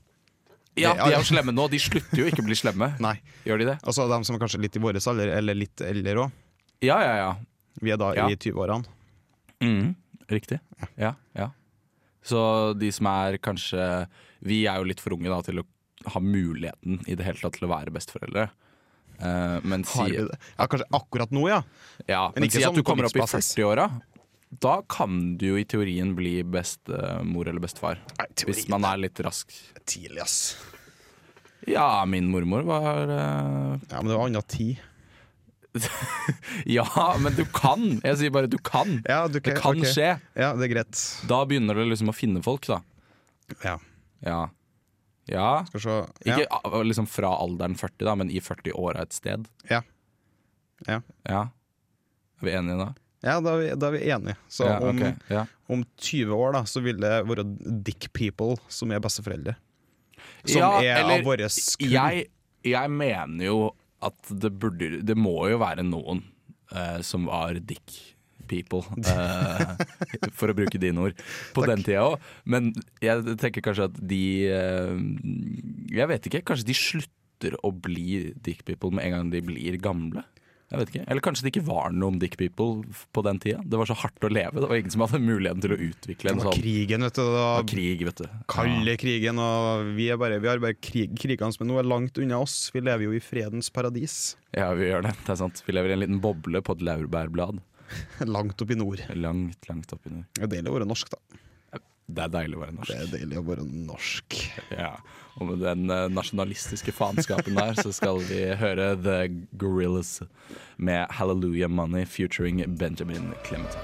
[SPEAKER 2] ja, de er
[SPEAKER 3] ja.
[SPEAKER 2] jo slemme nå. De slutter jo ikke å bli slemme.
[SPEAKER 3] Nei.
[SPEAKER 2] Gjør de det?
[SPEAKER 3] Og så dem som er kanskje litt i vår alder, eller litt eldre òg.
[SPEAKER 2] Ja, ja, ja.
[SPEAKER 3] Vi er da
[SPEAKER 2] Ja.
[SPEAKER 3] i 20-årene.
[SPEAKER 2] Mhm, riktig. Ja, ja. Så de som er kanskje Vi er jo litt for unge da, til å ha muligheten i det hele tatt til å være besteforeldre. Eh, men si,
[SPEAKER 3] Har vi det? Ja, kanskje akkurat nå, ja.
[SPEAKER 2] Ja,
[SPEAKER 3] Men
[SPEAKER 2] men
[SPEAKER 3] ikke
[SPEAKER 2] si at
[SPEAKER 3] sånn
[SPEAKER 2] du
[SPEAKER 3] på
[SPEAKER 2] kommer opp i
[SPEAKER 3] livsbasis.
[SPEAKER 2] 40-åra. Da kan du jo i teorien bli bestemor eller bestefar.
[SPEAKER 3] Nei, teorien
[SPEAKER 2] Hvis man er litt rask.
[SPEAKER 3] er tidlig, ass.
[SPEAKER 2] Ja, min mormor var eh,
[SPEAKER 3] Ja, men det var anna tid.
[SPEAKER 2] Ja, men du kan! Jeg sier bare du kan.
[SPEAKER 3] Ja, du
[SPEAKER 2] Det kan
[SPEAKER 3] ok.
[SPEAKER 2] skje.
[SPEAKER 3] Ja, det er greit.
[SPEAKER 2] Da begynner du liksom å finne folk, da.
[SPEAKER 3] Ja,
[SPEAKER 2] Ja. ja.
[SPEAKER 3] skal se. Ja.
[SPEAKER 2] Ikke ah, liksom fra alderen 40, da, men i 40-åra et sted.
[SPEAKER 3] Ja. Ja.
[SPEAKER 2] Ja. Er vi enige da?
[SPEAKER 3] Ja, da er vi, da er vi enige. Så
[SPEAKER 2] ja,
[SPEAKER 3] om,
[SPEAKER 2] ok, ja.
[SPEAKER 3] om 20 år da, så vil det være dick people som er besteforeldre. Som
[SPEAKER 2] Ja,
[SPEAKER 3] er
[SPEAKER 2] eller-
[SPEAKER 3] av våre skull.
[SPEAKER 2] jeg, jeg mener jo at det burde Det må jo være noen eh, som var dick people, eh, for å bruke dine ord, på den tida òg. Men jeg tenker kanskje at de eh, Jeg vet ikke. Kanskje de slutter å bli dick people med en gang de blir gamle? Jeg vet ikke. Eller kanskje det ikke var noen dick people f- på den tida. Det var så hardt å leve. Det var ingen som hadde muligheten til å utvikle
[SPEAKER 3] Det
[SPEAKER 2] en
[SPEAKER 3] var
[SPEAKER 2] sånn
[SPEAKER 3] krigen, vet du. Det
[SPEAKER 2] det
[SPEAKER 3] var
[SPEAKER 2] var krig, vet du.
[SPEAKER 3] kalde krigen, og vi, er bare, vi har bare krig, krigene som nå er langt unna oss. Vi lever jo i fredens paradis.
[SPEAKER 2] Ja, vi gjør det. Det er sant. Vi lever i en liten boble på et laurbærblad.
[SPEAKER 3] Langt opp i nord.
[SPEAKER 2] Langt, langt opp i nord.
[SPEAKER 3] Det er deilig å være norsk, da.
[SPEAKER 2] Det er deilig å være
[SPEAKER 3] Det
[SPEAKER 2] norsk.
[SPEAKER 3] er deilig å være norsk.
[SPEAKER 2] Ja. Og med den eh, nasjonalistiske faenskapen der, så skal vi høre The Gorillas med 'Hallelujah Money' featuring Benjamin Clementine.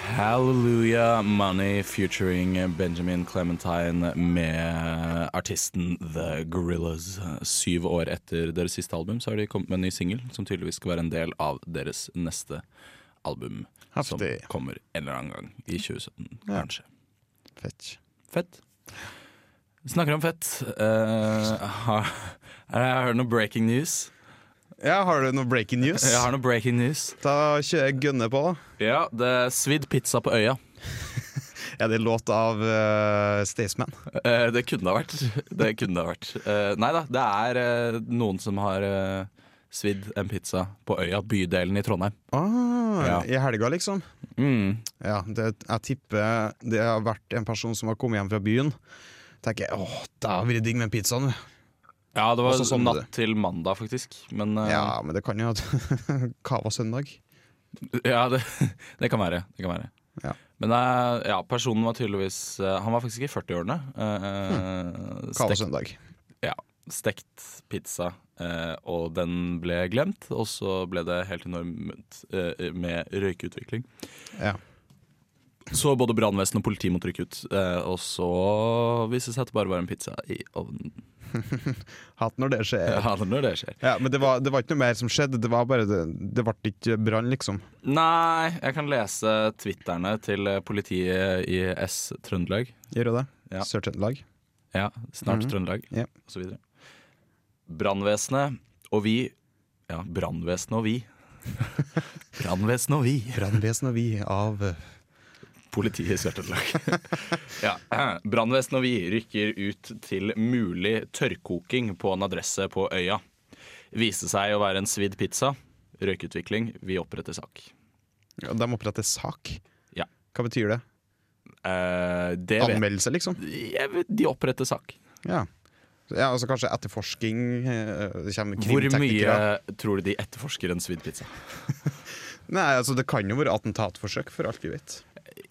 [SPEAKER 2] Hallelujah Money featuring Benjamin Clementine med artisten The Gorillas. Syv år etter deres siste album så har de kommet med en ny singel som tydeligvis skal være en del av deres neste album.
[SPEAKER 3] Heftig.
[SPEAKER 2] Som kommer en eller annen gang i 2017,
[SPEAKER 3] Ja.
[SPEAKER 2] kanskje.
[SPEAKER 3] Fett.
[SPEAKER 2] Fett. Snakker om fett. Eh, har, jeg har noe breaking news.
[SPEAKER 3] Ja, har du noe breaking news?
[SPEAKER 2] Jeg har noe breaking news.
[SPEAKER 3] Da kjører jeg gunne på. da.
[SPEAKER 2] Ja, det er svidd pizza på øya.
[SPEAKER 3] Er det låt av uh, Staysman?
[SPEAKER 2] Eh, det kunne det ha vært. Det kunne det ha vært. Eh, nei da, det er eh, noen som har eh, svidd en pizza på øya, bydelen i Trondheim.
[SPEAKER 3] Ah,
[SPEAKER 2] Ja.
[SPEAKER 3] I helga, liksom?
[SPEAKER 2] Mm.
[SPEAKER 3] Ja, det, jeg tipper det har vært en person som har kommet hjem fra byen. Tenker jeg, åh, det har vært digg med en pizza nå.
[SPEAKER 2] Ja, det var
[SPEAKER 3] Også sånn
[SPEAKER 2] natt
[SPEAKER 3] det.
[SPEAKER 2] til mandag, faktisk. Men eh, ja,
[SPEAKER 3] Ja, men det kan jo at Kava søndag.
[SPEAKER 2] det, det kan være. Det kan være.
[SPEAKER 3] Ja.
[SPEAKER 2] Men eh, ja, personen var tydeligvis eh, Han var faktisk i 40-årene.
[SPEAKER 3] Hm.
[SPEAKER 2] eh,
[SPEAKER 3] Kava
[SPEAKER 2] stekt,
[SPEAKER 3] søndag.
[SPEAKER 2] ja, stekt pizza, eh, og den ble glemt. Og så ble det helt enormt eh, med røykeutvikling.
[SPEAKER 3] Ja.
[SPEAKER 2] Så både brannvesen og politi måtte rykke ut. eh, Og så viste det seg at det bare var en pizza i ovnen.
[SPEAKER 3] Hatt når det skjer. Ja.
[SPEAKER 2] Ja, det er når det skjer.
[SPEAKER 3] men det var, det var ikke noe mer som skjedde, det var bare det, det ble ikke brann, liksom.
[SPEAKER 2] Nei, jeg kan lese twitterne til eh, politiet i S-Trøndelag.
[SPEAKER 3] Gjør jo det.
[SPEAKER 2] Ja.
[SPEAKER 3] Sør-Trøndelag.
[SPEAKER 2] Ja, snart Trøndelag,
[SPEAKER 3] Ja.
[SPEAKER 2] og så videre. Brannvesenet og vi Ja, brannvesenet og vi. brannvesenet og vi.
[SPEAKER 3] Brannvesen og vi av eh,
[SPEAKER 2] Politiet i Sør-Trøndelag. ja. Brannvesenet og vi rykker ut til mulig tørrkoking på en adresse på øya. Viste seg å være en svidd pizza. Røykutvikling. Vi oppretter sak.
[SPEAKER 3] ja, De oppretter sak.
[SPEAKER 2] Ja.
[SPEAKER 3] Hva betyr det?
[SPEAKER 2] Eh, det vet
[SPEAKER 3] Anmeldelse, liksom?
[SPEAKER 2] jeg. Vet, de oppretter sak.
[SPEAKER 3] Ja. ja altså Kanskje etterforsking. eh, Det kommer
[SPEAKER 2] Hvor mye
[SPEAKER 3] krimteknikere.
[SPEAKER 2] tror du de etterforsker en svidd pizza?
[SPEAKER 3] Nei, altså Det kan jo være attentatforsøk, for alt vi vet.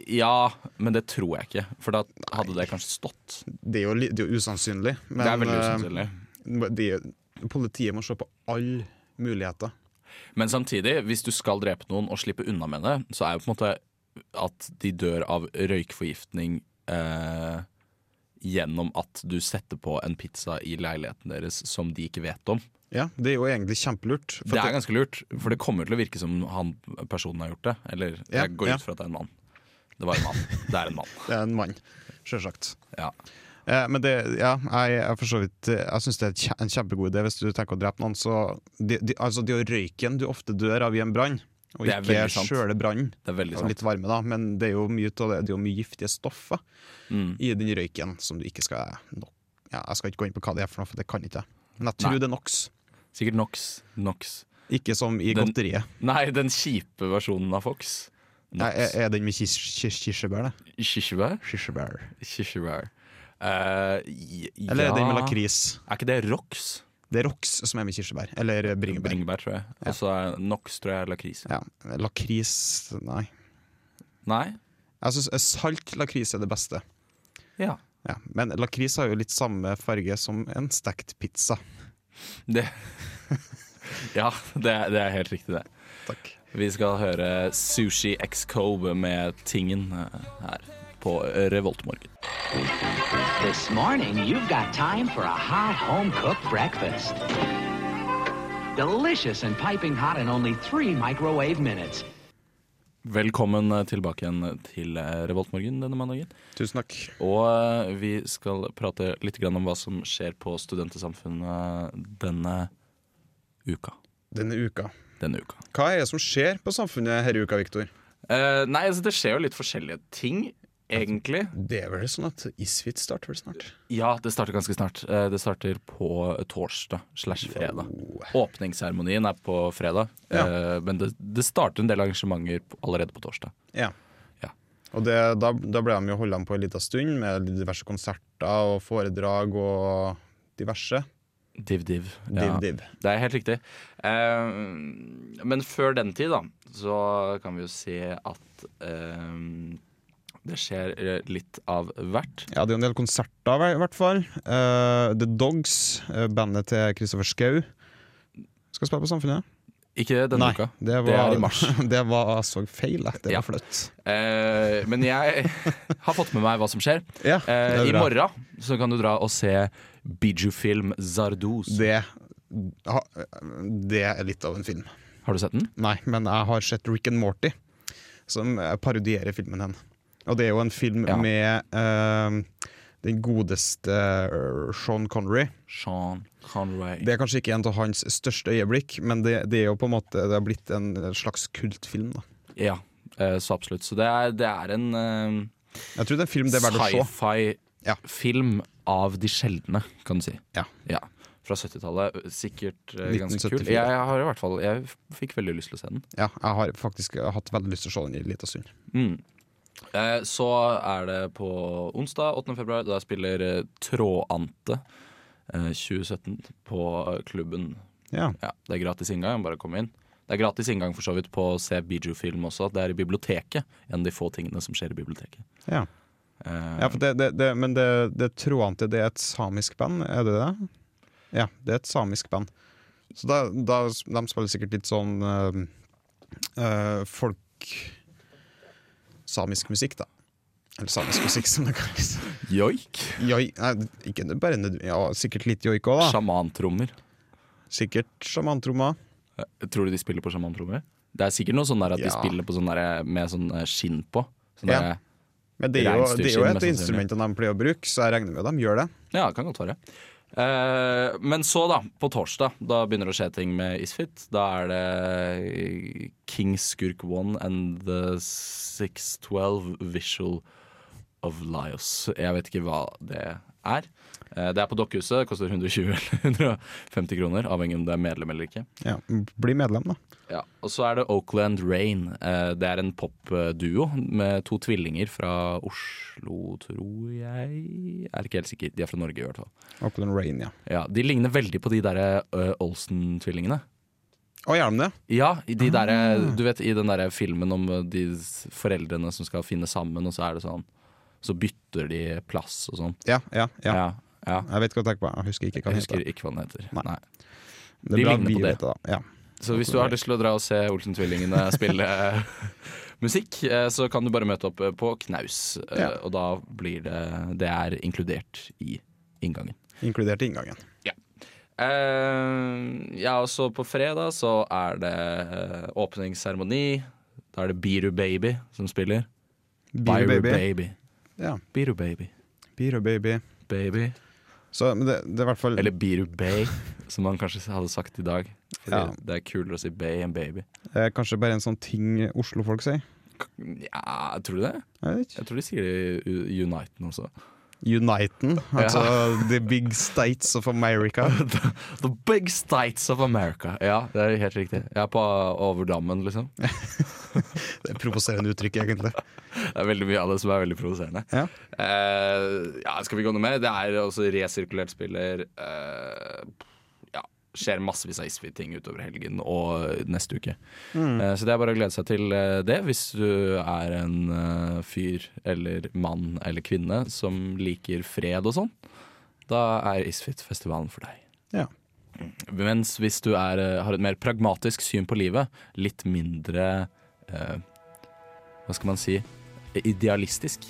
[SPEAKER 2] Ja, men det tror jeg ikke. For da hadde det kanskje stått.
[SPEAKER 3] Det er jo, li- det er jo usannsynlig. Men
[SPEAKER 2] det er veldig
[SPEAKER 3] eh,
[SPEAKER 2] usannsynlig.
[SPEAKER 3] det er jo- politiet må se på alle muligheter.
[SPEAKER 2] Men samtidig, hvis du skal drepe noen og slippe unna med det, så er jo på en måte at de dør av røykforgiftning eh, gjennom at du setter på en pizza i leiligheten deres som de ikke vet om.
[SPEAKER 3] Ja, Det er jo egentlig kjempelurt. For
[SPEAKER 2] Det er
[SPEAKER 3] at
[SPEAKER 2] ganske lurt, for det kommer til å virke som han personen har gjort det. Eller
[SPEAKER 3] Ja,
[SPEAKER 2] jeg går
[SPEAKER 3] ja.
[SPEAKER 2] ut fra at det er en mann. Det var en mann. Det er en mann.
[SPEAKER 3] det- det er en mann, sjølsagt.
[SPEAKER 2] Ja.
[SPEAKER 3] Eh, men det, ja, jeg, jeg, for så vidt, eh, jeg syns det er et kje- en kjempegod idé hvis du tenker å drepe noen. Så de, de, altså, det er jo røyken du ofte dør av i en brann, og
[SPEAKER 2] Det er
[SPEAKER 3] ikke
[SPEAKER 2] veldig sant.
[SPEAKER 3] sjøle brannen.
[SPEAKER 2] Det er veldig
[SPEAKER 3] Og
[SPEAKER 2] sant.
[SPEAKER 3] litt varme, da, men det er jo mye, av det, det er jo mye giftige stoffer
[SPEAKER 2] Mm.
[SPEAKER 3] i den røyken som du ikke skal nok, ja, Jeg skal ikke gå inn på hva det er for noe, for det kan ikke jeg. Men jeg tror
[SPEAKER 2] Nei.
[SPEAKER 3] det er NOx.
[SPEAKER 2] Sikkert Nox. Nox.
[SPEAKER 3] Ikke som i
[SPEAKER 2] Den-
[SPEAKER 3] godteriet.
[SPEAKER 2] Nei, den kjipe versjonen av Fox.
[SPEAKER 3] Nei,
[SPEAKER 2] Nox.
[SPEAKER 3] er, er den med kis- kis- kirsebær, det?
[SPEAKER 2] Kirsebær?
[SPEAKER 3] Kirsebær.
[SPEAKER 2] Kirsebær. Eh, j- ja.
[SPEAKER 3] Eller den med lakris.
[SPEAKER 2] Er ikke det Rox?
[SPEAKER 3] Det er Rox som er med kirsebær. Eller bringebær.
[SPEAKER 2] Bringebær, tror jeg. Og så er Nox tror jeg er lakris.
[SPEAKER 3] Ja, lakris Nei.
[SPEAKER 2] Nei?
[SPEAKER 3] Jeg syns salt lakris er det beste.
[SPEAKER 2] Ja.
[SPEAKER 3] Ja, men lakris har jo litt samme farge som en stekt pizza.
[SPEAKER 2] Det Ja, det, er- det er helt riktig, det.
[SPEAKER 3] Takk.
[SPEAKER 2] Vi skal høre Sushi X Cove med Tingen eh, her på eh, Revoltmorgen.
[SPEAKER 7] This morning, you've got time for a hot home cooked breakfast. Delicious and piping hot in only three microwave minutes.
[SPEAKER 2] Velkommen eh, tilbake igjen til eh, Revoltmorgen denne mandagen.
[SPEAKER 3] Tusen takk.
[SPEAKER 2] Og eh, vi skal prate litt grann om hva som skjer på Studentesamfunnet denne uka.
[SPEAKER 3] Denne uka.
[SPEAKER 2] Denne uka.
[SPEAKER 3] Hva er det som skjer på samfunnet denne uka, Viktor?
[SPEAKER 2] Eh, nei, altså det skjer jo litt forskjellige ting, egentlig.
[SPEAKER 3] Det er vel sånn at Isfit starter vel snart?
[SPEAKER 2] Ja, det starter ganske snart. Eh, det starter på torsdag slash fredag. Åpningsseremonien er på fredag,
[SPEAKER 3] Ja.
[SPEAKER 2] eh, men det, det starter en del arrangementer p- allerede på torsdag.
[SPEAKER 3] Ja.
[SPEAKER 2] Ja.
[SPEAKER 3] Og det, da, da ble de jo holdt på en liten stund med diverse konserter og foredrag og diverse.
[SPEAKER 2] Div-div.
[SPEAKER 3] Div-div.
[SPEAKER 2] Det er helt riktig. Eh, men før den tid, da, så kan vi jo se at eh, det skjer eh, litt av hvert.
[SPEAKER 3] Ja, det er jo en del konserter, i hvert fall. Eh, The Dogs, eh, bandet til Kristoffer Schou, skal spille på Samfunnet.
[SPEAKER 2] Ikke denne
[SPEAKER 3] Nei,
[SPEAKER 2] uka.
[SPEAKER 3] det var,
[SPEAKER 2] er i mars.
[SPEAKER 3] det var jeg så feil. jeg. Det
[SPEAKER 2] Ja.
[SPEAKER 3] var flaut.
[SPEAKER 2] Eh, men jeg har fått med meg hva som skjer.
[SPEAKER 3] Ja,
[SPEAKER 2] Eh,
[SPEAKER 3] det er
[SPEAKER 2] I
[SPEAKER 3] bra.
[SPEAKER 2] morgen så kan du dra og se Biju-film Zardoz.
[SPEAKER 3] Det, ha, det er litt av en film.
[SPEAKER 2] Har du sett den?
[SPEAKER 3] Nei, men jeg har sett Rick and Morty, som eh, parodierer filmen hen. Og det er jo en film
[SPEAKER 2] Ja.
[SPEAKER 3] med eh, den godeste eh, Sean Connery.
[SPEAKER 2] Sean Conway.
[SPEAKER 3] Det er kanskje ikke en av hans største øyeblikk, men det, det er jo på en måte Det har blitt en slags kultfilm. Da.
[SPEAKER 2] Ja, eh, så absolutt. Så det er, det er en eh,
[SPEAKER 3] Jeg tror det er en film det er verdt å se. Ja.
[SPEAKER 2] sci-fi-film av de sjeldne, kan du si.
[SPEAKER 3] Ja.
[SPEAKER 2] Fra 70-tallet. Sikkert eh, ganske
[SPEAKER 3] 1974.
[SPEAKER 2] kul. Jeg, har i hvert fall Jeg fikk veldig lyst til å se den.
[SPEAKER 3] Ja, jeg har faktisk hatt veldig lyst til å se den i en liten stund.
[SPEAKER 2] Mm. Eh, Så er det på onsdag 8. februar. Da spiller eh, Trådante eh, 2017 på eh, klubben.
[SPEAKER 3] Ja.
[SPEAKER 2] Ja, Det er gratis inngang, bare kom inn. Det er gratis inngang for så vidt på å se Biju-film også. Det er i biblioteket. En av de få tingene som skjer i biblioteket.
[SPEAKER 3] Ja.
[SPEAKER 2] Eh,
[SPEAKER 3] Ja, for det, det, det, men det, det Troante, det er et samisk band, er det det? Ja, det er et samisk band. Så da, da, de spiller sikkert litt sånn eh, eh, folk Samisk musikk, da. Eller samisk musikk, som det kalles.
[SPEAKER 2] Joik.
[SPEAKER 3] Joik Nei, ikke nød- bare nød- ja, sikkert litt joik òg, da.
[SPEAKER 2] Sjamantrommer. Eh,
[SPEAKER 3] Sikkert sjamantromma.
[SPEAKER 2] Tror du de spiller på sjamantrommer? Det er sikkert noe sånn der at de
[SPEAKER 3] Ja.
[SPEAKER 2] spiller på sånn der med sånn eh, skinn på. Sånn
[SPEAKER 3] Ja.
[SPEAKER 2] der,
[SPEAKER 3] Men det er jo, det er jo
[SPEAKER 2] Reinsdyrskinn,
[SPEAKER 3] et av
[SPEAKER 2] mest sannsynlig.
[SPEAKER 3] instrumentene de pleier å bruke, så jeg regner med de gjør det.
[SPEAKER 2] ja, det kan godt være. Eh, men så, da, på torsdag, da begynner det å skje ting med Isfit. Da er det King Skurk 1 and The 612 Visual of Lios. Jeg vet ikke hva det er. Eh, det er på Dokkhuset. Koster 120 eller 150 kroner, avhengig om du er medlem eller ikke.
[SPEAKER 3] Ja, Bli medlem, da.
[SPEAKER 2] Ja, og så er det Oakland Rain. Eh, Det er en popduo med to tvillinger fra Oslo, tror jeg. Jeg er ikke helt sikker. De er fra Norge, i hvert fall.
[SPEAKER 3] Auckland Rain, ja.
[SPEAKER 2] Ja, De ligner veldig på de derre eh, Olsen-tvillingene.
[SPEAKER 3] Å, gjør de det?
[SPEAKER 2] Ja, i de
[SPEAKER 3] Ah.
[SPEAKER 2] derre Du vet i den derre filmen om eh, de s- foreldrene som skal finne sammen, og så er det sånn Så bytter de plass og sånn.
[SPEAKER 3] Ja, ja, ja.
[SPEAKER 2] Ja. ja.
[SPEAKER 3] Jeg vet hva jeg tenker på. Jeg husker ikke
[SPEAKER 2] Jeg
[SPEAKER 3] hva det heter.
[SPEAKER 2] husker ikke hva den heter.
[SPEAKER 3] Nei.
[SPEAKER 2] Nei.
[SPEAKER 3] Det
[SPEAKER 2] De
[SPEAKER 3] er bra
[SPEAKER 2] ligner
[SPEAKER 3] vi
[SPEAKER 2] på det.
[SPEAKER 3] vet det, da. Ja.
[SPEAKER 2] Så hvis du har lyst til å dra og se Olsen-tvillingene spille eh, musikk, eh, så kan du bare møte opp eh, på knaus. eh,
[SPEAKER 3] Ja.
[SPEAKER 2] Og da blir det Det er inkludert i inngangen.
[SPEAKER 3] Inkludert i inngangen.
[SPEAKER 2] Eh, ja, og så på fredag så er det eh, åpningsseremoni. Da er det Biru Baby som spiller.
[SPEAKER 3] Biru baby.
[SPEAKER 2] Baby.
[SPEAKER 3] Ja.
[SPEAKER 2] Biru Baby.
[SPEAKER 3] Biru baby.
[SPEAKER 2] Baby.
[SPEAKER 3] Så men det, det er i hvert fall
[SPEAKER 2] Eller Biru Bay, som man kanskje hadde sagt i dag. Fordi
[SPEAKER 3] Ja.
[SPEAKER 2] det er kulere å si Bay enn Baby.
[SPEAKER 3] eh, kanskje bare en sånn ting Oslo-folk sier.
[SPEAKER 2] Ja, tror du det?
[SPEAKER 3] Jeg vet ikke.
[SPEAKER 2] Jeg tror de sier det i Uniten også.
[SPEAKER 3] Uniten. Altså The Big States of America.
[SPEAKER 2] The big states of America. Ja, det er helt riktig. Jeg er på overdammen, liksom.
[SPEAKER 3] Det er provoserende uttrykk, egentlig.
[SPEAKER 2] Det er veldig mye av det som er veldig provoserende.
[SPEAKER 3] Ja.
[SPEAKER 2] Eh, ja, skal vi gå noe mer? Det er også resirkulert spiller. eh, ja, skjer massevis av Isfit-ting utover helgen og neste uke. Eh, så det er bare å glede seg til eh, det, hvis du er en eh, fyr eller mann eller kvinne som liker fred og sånn. Da er Isfit-festivalen for deg.
[SPEAKER 3] Ja.
[SPEAKER 2] Mens hvis du er, eh, har et mer pragmatisk syn på livet, litt mindre eh, Hva skal man si? Idealistisk.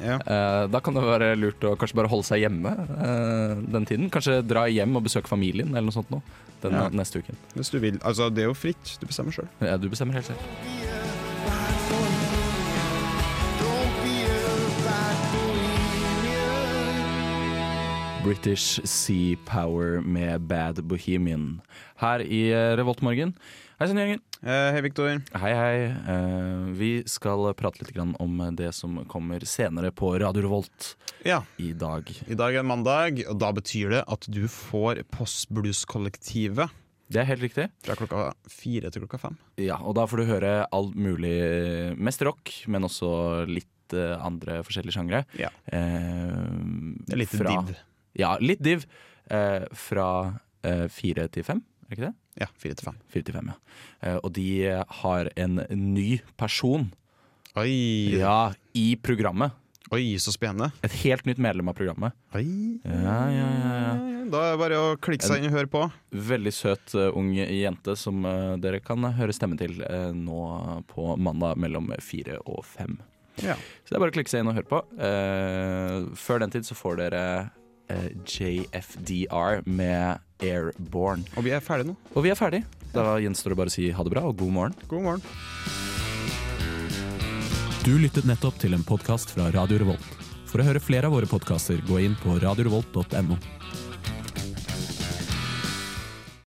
[SPEAKER 3] Ja.
[SPEAKER 2] Eh, da kan det være lurt å kanskje bare holde seg hjemme eh, den tiden. Kanskje dra hjem og besøke familien eller noe sånt nå, den
[SPEAKER 3] Ja.
[SPEAKER 2] neste uken.
[SPEAKER 3] Hvis du vil. Altså, det er jo fritt. Du bestemmer sjøl.
[SPEAKER 2] Ja, du bestemmer helt selv. British Sea Power med Bad Bohemian her i eh, Revoltmorgen. Hei sann, Jørgen.
[SPEAKER 3] Eh, hei, Viktor.
[SPEAKER 2] Hei, hei. Eh, vi skal prate litt grann om det som kommer senere på Radio Revolt
[SPEAKER 3] Ja.
[SPEAKER 2] i dag.
[SPEAKER 3] I dag er mandag, og da betyr det at du får Postblues-kollektivet
[SPEAKER 2] Det er helt riktig.
[SPEAKER 3] fra klokka fire til klokka fem.
[SPEAKER 2] Ja, og da får du høre all mulig eh, Mest rock, men også litt eh, andre forskjellige sjangre.
[SPEAKER 3] Ja.
[SPEAKER 2] Eh,
[SPEAKER 3] Det er litt
[SPEAKER 2] fra-
[SPEAKER 3] div.
[SPEAKER 2] Ja, litt div. Eh, fra eh, fire til fem, er det ikke det?
[SPEAKER 3] Ja, fire til fem.
[SPEAKER 2] Fire til fem, ja. Eh, og de har en ny person
[SPEAKER 3] Oi,
[SPEAKER 2] ja, i programmet.
[SPEAKER 3] Oi så spennende.
[SPEAKER 2] Et helt nytt medlem av programmet.
[SPEAKER 3] Oi.
[SPEAKER 2] Ja, ja, ja, ja.
[SPEAKER 3] Da er det bare å klikke seg inn og høre på.
[SPEAKER 2] Veldig søt eh, ung jente som eh, dere kan høre stemmen til eh, nå på mandag mellom fire og fem.
[SPEAKER 3] Ja.
[SPEAKER 2] Så det er bare å klikke seg inn og høre på. Eh, før den tid så får dere eh, JFDR med Airborne.
[SPEAKER 3] Og vi er ferdige nå.
[SPEAKER 2] Og vi er ferdig. Da gjenstår det bare å si ha det bra og god morgen.
[SPEAKER 3] God morgen.
[SPEAKER 8] Du lyttet nettopp til en podkast fra Radio Revolt. For å høre flere av våre podkaster, gå inn på radiorevolt.no.